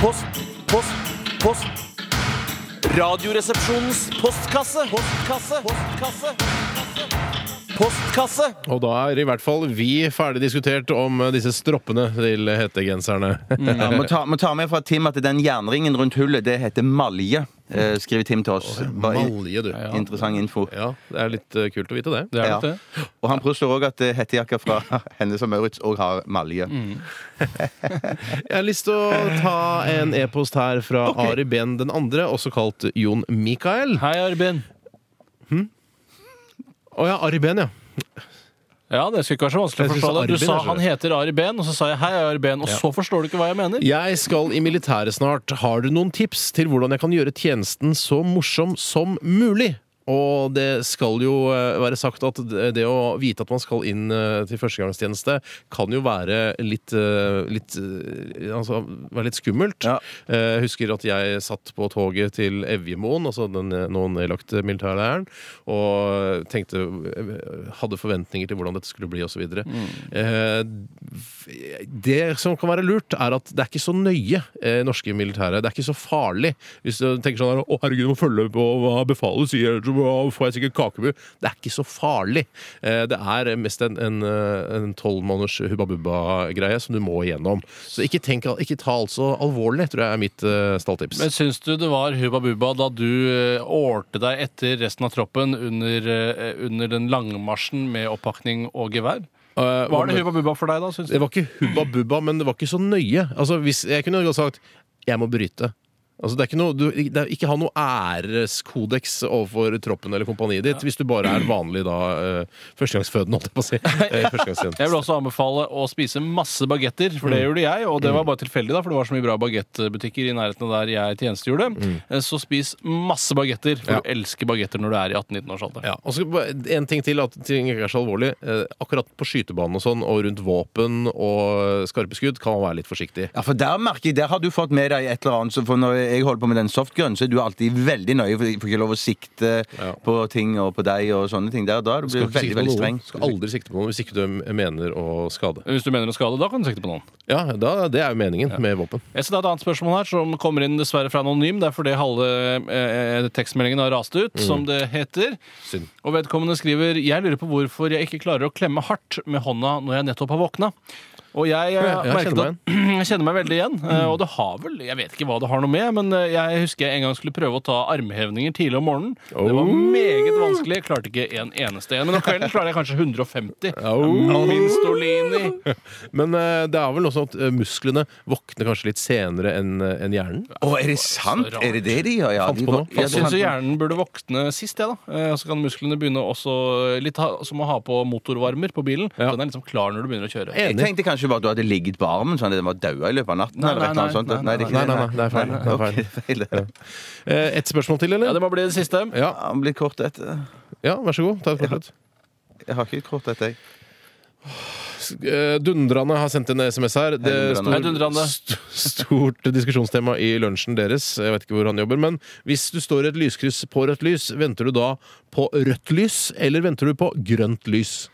post, post, post. Radioresepsjonens postkasse. Postkasse. Postkasse. Postkasse. Og da er i hvert fall vi ferdig diskutert om eh, disse stroppene til hettegenserne. Ja, må, ta, må ta med fra Tim at den jernringen rundt hullet, det heter malje. eh, skriver Tim til oss. Bare i- Malje, du. Ja, Interessant info. det er litt eh, kult å vite det. Det er Ja. nok det. Og han påstår òg at eh, hettejakka fra henne som Maurits òg har malje. Mm. Jeg har lyst til å ta en e-post her fra Ari Ben den andre, også kalt Jon Mikael. Hei, Arben. Å ja, Ari Ben, ja. Ja, det skulle ikke være så vanskelig Jeg å forstå synes det. Du Arben sa er så- han heter Ari Ben, og så sa jeg hei, Ari Ben, og så forstår du ikke hva jeg mener. Jeg skal i militæret snart. Har du noen tips til hvordan jeg kan gjøre tjenesten så morsom som mulig? Og det skal jo eh, være sagt at det det å vite at man skal inn eh, til førstegangstjeneste, kan jo være litt, eh, litt eh, Altså være litt skummelt. Ja. Eh, Jeg husker at jeg satt på toget til Evjemoen, altså den eh, nå nedlagte militærleiren, og tenkte eh, Hadde forventninger til hvordan dette skulle bli, osv. Eh, Det som kan være lurt, er at det er ikke så nøye eh, norske militære. Det er ikke så farlig. Hvis du tenker sånn her, Å, herregud, du må følge på hva befalet sier, ellers så får jeg sikkert kakebu. Det er ikke så farlig. Eh, Det er mest en- en, eh, en tolvmåneders hubba-bubba-greie som du må igjennom. Så ikke, tenk, al- ikke ta alt så alvorlig, tror jeg er mitt eh, stalltips. Men syns du det var Hubba Bubba da du eh, ålte deg etter resten av troppen under, eh, under den langmarsjen med oppakning og gevær? Eh, hva Var med- det Hubba Bubba for deg da, syns Det du? var ikke hubba bubba, men det var ikke så nøye. Altså, hvis, jeg kunne godt sagt 'jeg må bryte'. Altså, det er ikke, noe, du, det er, ikke ha noe æreskodeks overfor troppen eller kompaniet ditt hvis du bare er vanlig da eh, førstegangsfødende, holdt jeg på å si. Eh, førstegangstjeneste. Jeg vil også anbefale å spise masse bagetter, Mm. for det gjorde jeg. Og det var bare tilfeldig, da, for det var så mye bra bagettbutikker i nærheten av der jeg tjenestegjorde. Eh, Så spis masse bagetter, for Mm. Ja. du elsker bagetter når du er i 18-19-årsalderen. Ja, og så bare En ting til, at ting ikke er så alvorlig. Eh, akkurat på skytebanen og sånn, og rundt våpen og skarpe skudd, kan man være litt forsiktig. Ja, for Der merker jeg, der har du fått med deg et eller annet. Så for Når jeg holder på med den softgun, så er du alltid veldig nøye. for Jeg får ikke lov å sikte Ja. på ting og på deg og sånne ting. Der, da er du Skal blir ikke du sikte veldig, på veldig noen. streng. Skal aldri sikte på noen hvis ikke du mener å skade. Hvis du mener å skade, da kan du sikte på noen. Ja, da, Det er jo meningen med våpen. Jeg ser Det er et annet spørsmål her som kommer inn dessverre fra anonym. Det er fordi halve eh, tekstmeldingen har rast ut, som det heter. Synd. Og vedkommende skriver Jeg lurer på hvorfor jeg ikke klarer å klemme hardt med hånda når jeg nettopp har våkna. Og jeg, eh, jeg merket kjenner at- jeg kjenner meg veldig igjen. eh, Og det har vel Jeg vet ikke hva det har noe med, men eh, jeg husker jeg en gang skulle prøve å ta armhevninger tidlig om morgenen. Det var meget vanskelig. Jeg klarte ikke en eneste en. Men om kvelden klarer jeg kanskje 150. Oh. Minstolini. Men eh, det er vel også at eh, musklene våkner kanskje litt senere enn eh, enn hjernen. Å, er det sant? rart. Er det det de gjør? Ja, Fant de på noe. får- ja, Jeg de syns fant jo på- hjernen burde våkne sist, jeg, da. Eh, Så kan musklene begynne også litt ha, som å ha på motorvarmer på bilen. Ja. Den er liksom klar når du begynner å kjøre. Jeg tenkte kanskje bare at du hadde ligget på armen sånn at den var daua i løpet av natten. Nei, eller et eller annet nei, sånt. nei, Nei, det er ikke Nei, det, nei, nei, det er feil. Det er Ok, feil. feil. det. Eh, Et spørsmål til, Ja, eller? det må bli det siste. Ja, Ja, Han blir kort etter. ja vær så god. Ta et kort ut. Jeg har ikke et kort etter, jeg. Eh, Dundrande har sendt en SMS her. Det Hei, Dundrande. stor, Hei, Dundrande. st- stort diskusjonstema i lunsjen deres. Jeg vet ikke hvor han jobber, men hvis du står i et lyskryss på rødt lys, venter du da på rødt lys, eller venter du på grønt lys?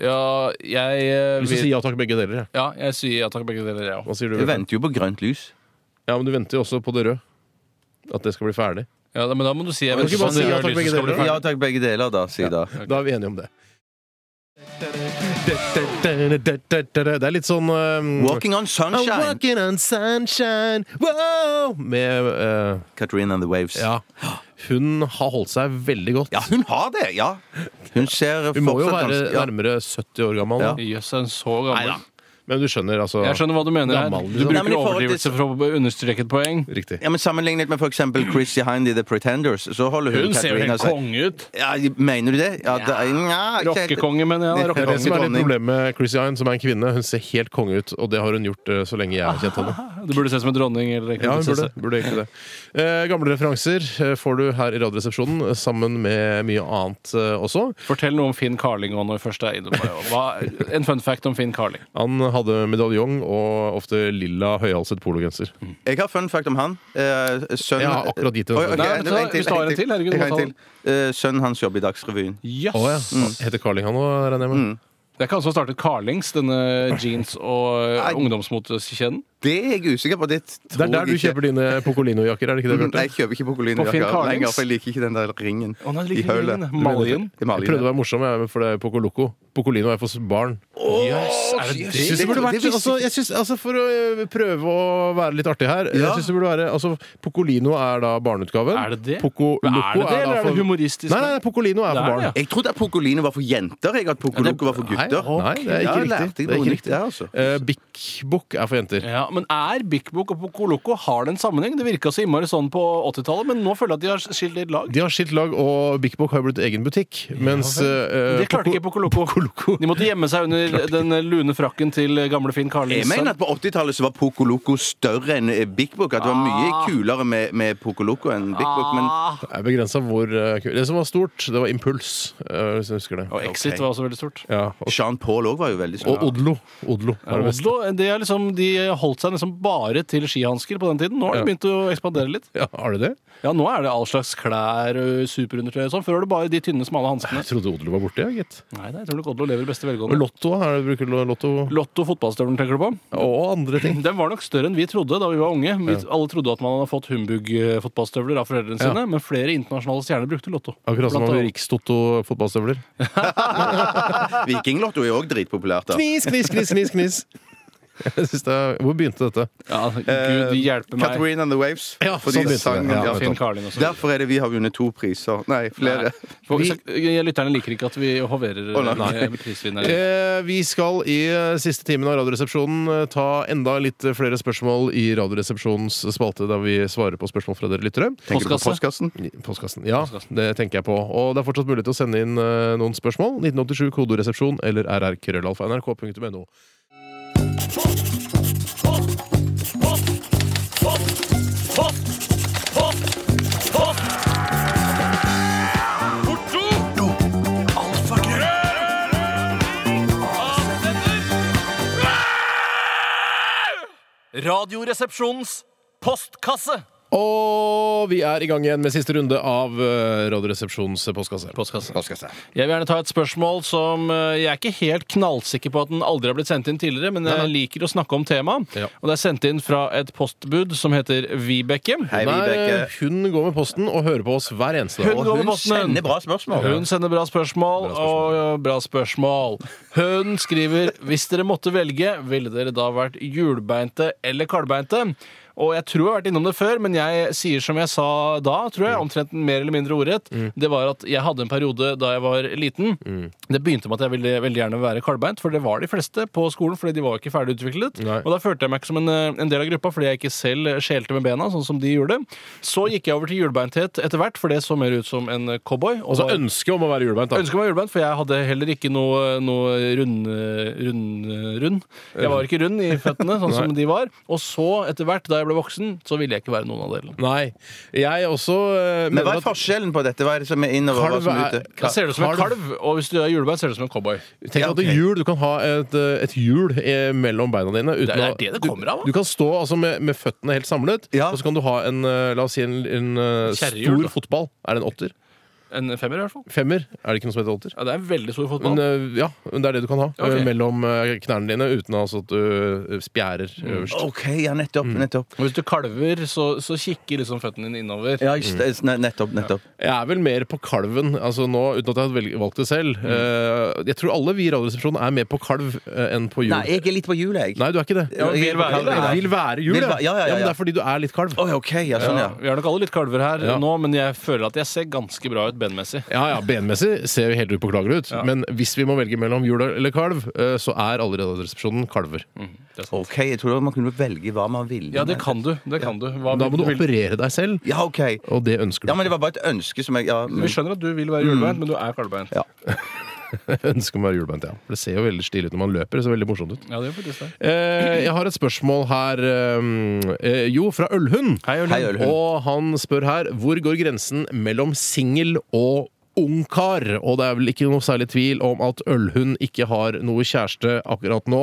Ja, jeg eh, Hvis du vil- sier ja takk, begge deler. ja. Ja, jeg sier ja takk, begge deler, jeg òg. Hva sier du? Jeg Bjørte? venter jo på grønt lys. Ja, men du venter jo også på det røde. At det skal bli ferdig. Ja, da- men da må du si jeg Kan du ikke bare sånn si ja gjør takk, lyset begge skal bli deler? ferdig. Ja takk, begge deler, da, si da. Da er vi enige om det. Det er litt sånn um, Walking on I'm sunshine. walking on sunshine wow! Med eh, Katrine and the Waves. Ja. Hun har holdt seg veldig godt. Ja, hun har det! Ja. Hun ser Hun må jo fortsatt være ganske- ja. nærmere 70 år gammel. Ja. da. Jøss, er hun så gammel? Men du skjønner, altså. Jeg skjønner hva du mener her. Gammel, Du liksom. Nei, men bruker i forhold til- overdrivelse for å understreke et poeng. Riktig. Ja, men Sammenlignet med f.eks. Chrissy Hindy The Pretenders, så holder hun, Hun ser jo Katrina helt altså. seg- konge ut. Ja, Mener du det? Ja, da, ja, ikke helt- Rockekonge, mener jeg. da. Det er det som er litt dronning. problemet med Chrissy Hine, som er en kvinne. Hun ser helt konge ut, og det har hun gjort eh, så lenge jeg har kjent henne. Rockekonge. Du burde se ut som en dronning eller en Ja, hun burde, prinsesse. burde egentlig det. Eh, gamle referanser eh, får du her i Radioresepsjonen, eh, sammen med mye annet eh, også. Fortell noe om Finn Carling og når vi først er inne på det. Hva- En fun fact om Finn Carling. Han hadde medaljong og ofte lilla høyhalset pologenser. Jeg har fun fact om han. Eh, sønnen Jeg har akkurat gitt en Oi, fun ok, fact. Nei, en men ta- til, hvis du har en til, herregud, Jeg har må en til. Eh, sønnen hans jobber i Dagsrevyen. Yes. Mm. Å, ja. Heter Carling han òg, regner jeg med? Det er ikke han som har startet Carlings, denne jeans- og eh, Nei. ungdomsmotekjeden? Det er jeg usikker på. Det Det er der du kjøper dine Pocolino-jakker, er det ikke det, Nei, Bjarte? jeg kjøper ikke På Finn Pocolino-jakker Carlings? lenger, for jeg liker ikke den der ringen Å, nei, du i liker ikke hølet. ringen, nei. Malien? I Jeg prøvde å Malien. være morsom, jeg, for det er Pocoloco. Pocolino er for barn. er det Jeg synes det Det- burde det vært, visste altså, jeg synes, altså For å ø, prøve å være litt artig her Jeg synes det burde være, altså Pocolino er da barneutgaven. Er det det? Poco Men Loco er det det, da eller er det for- humoristisk? Nei, nei, nei, Pocolino er for Det er det, ja. barn. Jeg trodde at Pocolino var for jenter, jeg, at Pocoloco var for gutter. Nei, nei, det er Ja, ikke lærte riktig. jeg Det er noe ikke nytt riktig. der, altså. Eh, Bic Book er for jenter. Ja, Men er Bik Bok og Poco Loco har det en sammenheng? Det virka så innmari sånn på 80-tallet, men nå føler jeg at de har skilt litt lag. De har skilt lag, og Bic Book har blitt egen butikk. Mens eh, Det klarte Poco- ikke Poco Loco. De måtte gjemme seg under den lune frakken til gamle Finn Jeg Carlingsen. mener at på 80-tallet så var Pocoloco større enn eh, Big Book. At det var Ah. mye kulere med, med Pocoloco enn Big Book. Men Det er begrensa hvor eh, kul- Det som var stort, det var Impuls, eh, hvis jeg husker det. Og Exit Ok. var også veldig stort. Ja, og, Jean Paul òg var jo veldig og stor. Odlo. Odlo var det beste. Oslo, det er liksom, de holdt seg liksom bare til skihansker på den tiden. Nå Ja. har de begynt å ekspandere litt. Ja, har det det? Ja, Nå er det all slags klær, ø, superundertøy og sånn. Før var det bare de tynne, smale hanskene. Jeg trodde Odlo var borte, ja, gitt. Nei, nei, jeg tror nok Odlo lever i beste Og velgående. Lotto, er det, bruker du Lotto Lotto fotballstøvelen tenker du på? og andre ting? Den var nok større enn vi trodde da vi var unge. Vi, Alle trodde at man hadde fått humbug-fotballstøvler av foreldrene Ja. sine, men flere internasjonale stjerner brukte Lotto. Akkurat som Blant om annet- Rikstoto fotballstøvler. Vikinglotto er òg dritpopulært. da. Knis, knis, knis, knis, knis. Jeg synes det er, hvor begynte dette? Ja, Gud hjelpe meg. Katarina and the Waves. Ja, For sånn de begynte sang- det. Ja, ja, nettopp. Finn Karlin også. Derfor er det vi har vunnet to priser. Nei, flere. For, lytterne liker ikke at vi hoverer Å, nei. eh, prisvinnere. Eh, vi skal i eh, siste timen av Radioresepsjonen eh, ta enda litt eh, flere spørsmål i Radioresepsjonens spalte, der vi svarer på spørsmål fra dere lyttere. Tenker du på Postkasse. postkassen? I Postkassen. Ja, det tenker jeg på. Og det er fortsatt mulig til å sende inn eh, noen spørsmål. 1987 kodoresepsjon eller rrkrøllalfa.nrk.no. Radioresepsjonens postkasse. Og vi er i gang igjen med siste runde av eh, Radioresepsjonens postkasse. Postkasse. Postkasse. Jeg vil gjerne ta et spørsmål som eh, jeg er ikke helt knallsikker på at den aldri har blitt sendt inn tidligere, men jeg liker å snakke om temaet. Ja. Og det er sendt inn fra et postbud som heter Vibeke. Hei, Nei, eh, Vibeke. hun går med posten og hører på oss hver eneste dag. Hun Og går med hun posten, hun. sender bra spørsmål. Hun sender bra spørsmål, og bra spørsmål. Hun skriver hvis dere måtte velge, ville dere da vært hjulbeinte eller kalbeinte? Og jeg tror jeg har vært innom det før, men jeg sier som jeg sa da, tror jeg, omtrent mer eller mindre ordrett. Det var at jeg hadde en periode da jeg var liten. Det begynte med at jeg ville veldig gjerne være kalbeint, for det var de fleste på skolen, fordi de var ikke ferdig utviklet. Nei. Og da følte jeg meg ikke som en, eh, en del av gruppa, fordi jeg ikke selv skjelte med bena, sånn som de gjorde. Så gikk jeg over til hjulbeinthet etter hvert, for det så mer ut som en cowboy. og Altså var- ønsket om å være julebeint. jeg ønsker meg julebeint, for jeg hadde heller ikke noe, noe rund, rund, rund. Jeg var ikke rund i føttene, sånn som de var. Og så, etter hvert, da jeg ble voksen, så ville jeg ikke være noen av delene. Nei. Jeg også eh, Men hva mener er at forskjellen på dette? Hva er det som er innover? Hva kalv som er er ute? Da ser du ut som en Kalv. kalv, og hvis du er julebeint, ser du ut som en cowboy. Tenk Ja, at det ok. er jul, du kan ha et, eh, et hjul eh, mellom beina dine. Uten Det er- å- det er det det kommer av, da. Du, du kan stå altså, med, med føttene helt samlet, og så kan du ha en eh, la oss si en, en eh, Kjerrehjul, stor da. fotball. Er det en åtter? En femmer, i hvert fall. Femmer? Er det ikke noe som heter åtter? Ja, det er en veldig stor fotball. Men eh, ja, men det er det du kan ha Ok. eh, mellom eh, knærne dine uten altså, at du eh, spjærer Mm. øverst. OK, ja, nettopp. Nettopp. Og hvis du kalver, så, så kikker liksom føttene dine innover. Ja, just, eh, ne- nettopp, nettopp. Jeg er vel mer på kalven altså nå, uten at jeg har velg- valgt det selv. Mm. Eh, jeg tror alle vi i Radioresepsjonen er mer på kalv eh, enn på hjul. Nei, jeg er litt på hjulet, jeg. Nei, du er ikke det. Ja, men vil være- Nei, vil være jul, Vil være- ja, ja, ja, men ja. det er fordi du er litt kalv. Oi, OK, ja, sånn, ja. Vi er nok alle litt kalver her Ja. nå, men jeg føler at jeg ser ganske bra ut benmessig. Ja, ja, Benmessig ser jo helt upåklagelig ut, men hvis vi må velge mellom jul eller kalv, eh, så er alle i Radioresepsjonen kalver. OK, jeg tror man kunne velge hva man ville. Ja, det kan du. Det kan du. Hva Da må du vil- operere deg selv, Ja, OK. og det ønsker Ja, du. men det var bare et ønske som jeg ja, men, Vi skjønner at du vil være julebeint, men du er kalvebeint. Ja. Jeg ønsker å være julebeint, ja. For det ser jo veldig stilig ut når man løper. Det ser veldig morsomt ut. Ja, det er faktisk det. Eh, jeg har et spørsmål her. eh, eh, jo, fra Ølhund. Hei, Ørlund. Hei, Ølhund. Og han spør her hvor går grensen mellom singel og ungkar, og det er vel ikke noe særlig tvil om at Ølhund ikke har noe kjæreste akkurat nå.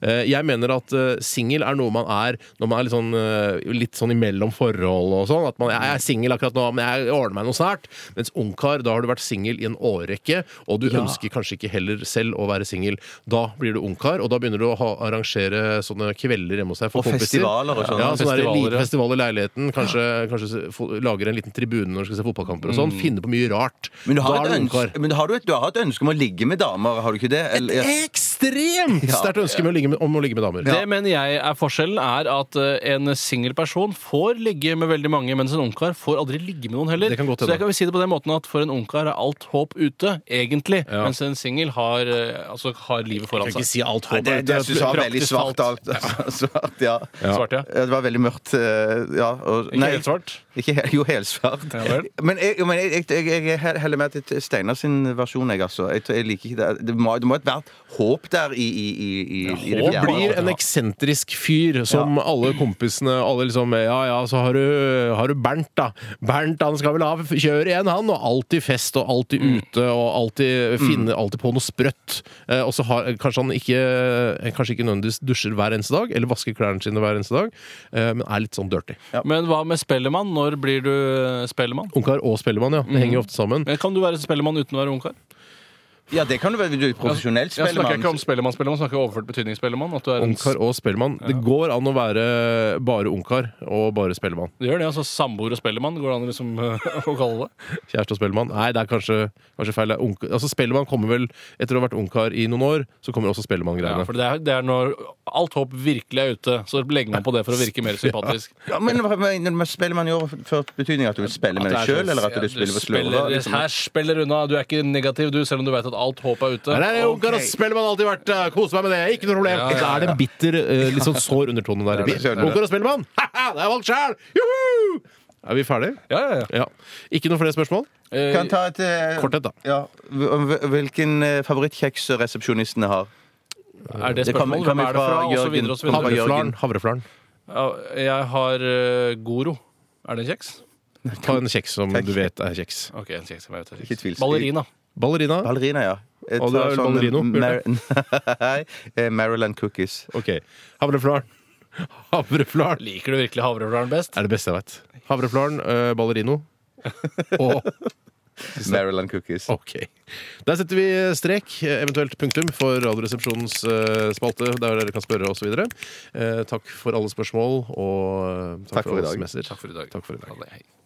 Eh, Jeg mener at eh, singel er noe man er når man er litt sånn, eh, litt sånn imellom forhold og sånn. At man jeg er singel akkurat nå, men jeg ordner meg noe snart. Mens ungkar, da har du vært singel i en årrekke, og du ønsker kanskje ikke heller selv å være singel. Da blir du ungkar, og da begynner du å ha, arrangere sånne kvelder hjemme hos deg for Og festivaler og sånn. Ja, sånn der Festivaler, ja. festival i leiligheten, kanskje, kanskje se- fo- lager en liten tribune når du skal se fotballkamper og sånn. Finne på mye rart. Men du har da et er du ønske- ungkar. Men har du et, du har et ønske om å ligge med damer, har du ikke det? Eller, ja. Ekstremt sterkt ønske med å ligge med, om å ligge med damer. Det mener jeg er forskjellen, er at eh, en singel person får ligge med veldig mange, mens en ungkar får aldri ligge med noen heller. Det kan godt så hende. jeg kan vel si det på den måten at for en ungkar er alt håp ute, egentlig. Mens en singel har, eh, altså, har livet foran Jeg kan ikke si seg. alt Nei, håpet det, er det ute. syns jeg var Praktisk veldig svart alt. Svart, ja. Ja. Svart, ja. Ja, Det var veldig mørkt. eh, Ja, og, Ikke helt svart. Ikke, he- jo, helsvart. Ja vel. men jeg, jo, men jeg, jeg, jeg, jeg heller med til Steinar sin versjon, jeg, altså. Jeg, tror- jeg liker ikke det. Det må, det må et hvert håp der i, i, i, i, i det Og fjerde. blir en eksentrisk fyr som alle kompisene alle liksom, Ja ja, så har du, har du Bernt, da. Bernt han skal vel ha kjør igjen, han. Og alltid fest og alltid Mm. ute og alltid finne alltid på noe sprøtt. Eh, og så har kanskje han ikke eh, Kanskje ikke nødvendigvis dusjer hver eneste dag, eller vasker klærne sine hver eneste dag, eh, men er litt sånn dirty. Men hva med spellemann? Når blir du eh, spellemann? Ungkar og spellemann, ja. Det henger jo Mm. ofte sammen. Men Kan du være spellemann uten å være ungkar? ja, det kan du være. Du er profesjonell Jeg snakker ikke spellemann. om spellemann, spellemann, snakker overført betydning spellemann. At du er en Ungkar og spellemann. Det går an å være bare ungkar og bare spellemann. Det gjør det, altså Samboer og spellemann går det an å liksom, eh, å kalle det. Kjæreste og Spellemann. Nei, det er kanskje, kanskje feil. Det er ungk- Altså, Spellemann kommer vel Etter å ha vært ungkar i noen år, så kommer også Ja, Spellemann-greiene. for det er, det er når alt håp virkelig er ute, så legger man på det for å virke mer sympatisk. Ja, men hva- men- men Spiller man i overført betydning at du vil spille med deg sjøl, eller at du vil spille på slurva? Liksom? sånn Her spiller unna. Du er ikke negativ, du, selv om du vet at alt håp er ute. Nei, nei, ungkar og Spellemann har alltid vært eh, Kose meg med det, ikke noe problem. Ja, ja, ja. Så er det en bitter, eh, litt sånn sår undertone der. det skjønner jeg. ungkar og Spellemann! Ha-ha, det er valgt sjæl! Juhu! Er vi ferdige? Ja, ja, ja. Ja. Ikke noe flere spørsmål? Eh, Kan ta et eh, Kort et, da. Ja, hv- Hvilken eh, favorittkjeks resepsjonistene har? Eh, er det det kommer- spørsmål? Hvem kommer er det fra? fra Og så Jørgen. videre og så Han- videre. Havreflaren. Havreflaren. Ja, Jeg har eh, Goro. Er det en kjeks? Ta en kjeks som Takk. du vet er kjeks. Ok, en kjeks. Jeg vet Ikke tvilsomt. Ballerina. Ballerina. Ballerina, ja. Jeg Og du tar sånn er vel ballerino, Bjørte? Nei, eh, Maryland cookies. OK. Havreflaren. Havreflaren Liker du virkelig havreflaren best? er det beste jeg veit. Havreflaren, eh, ballerino og Maryland cookies. Ok. Der setter vi strek, eventuelt punktum, for Radioresepsjonens eh, spalte, der dere kan spørre osv. Takk for alle spørsmål, og eh, takk, Takk for i alle dag. SMS-er. Takk for i dag. Takk for i dag. Ha det. Hei.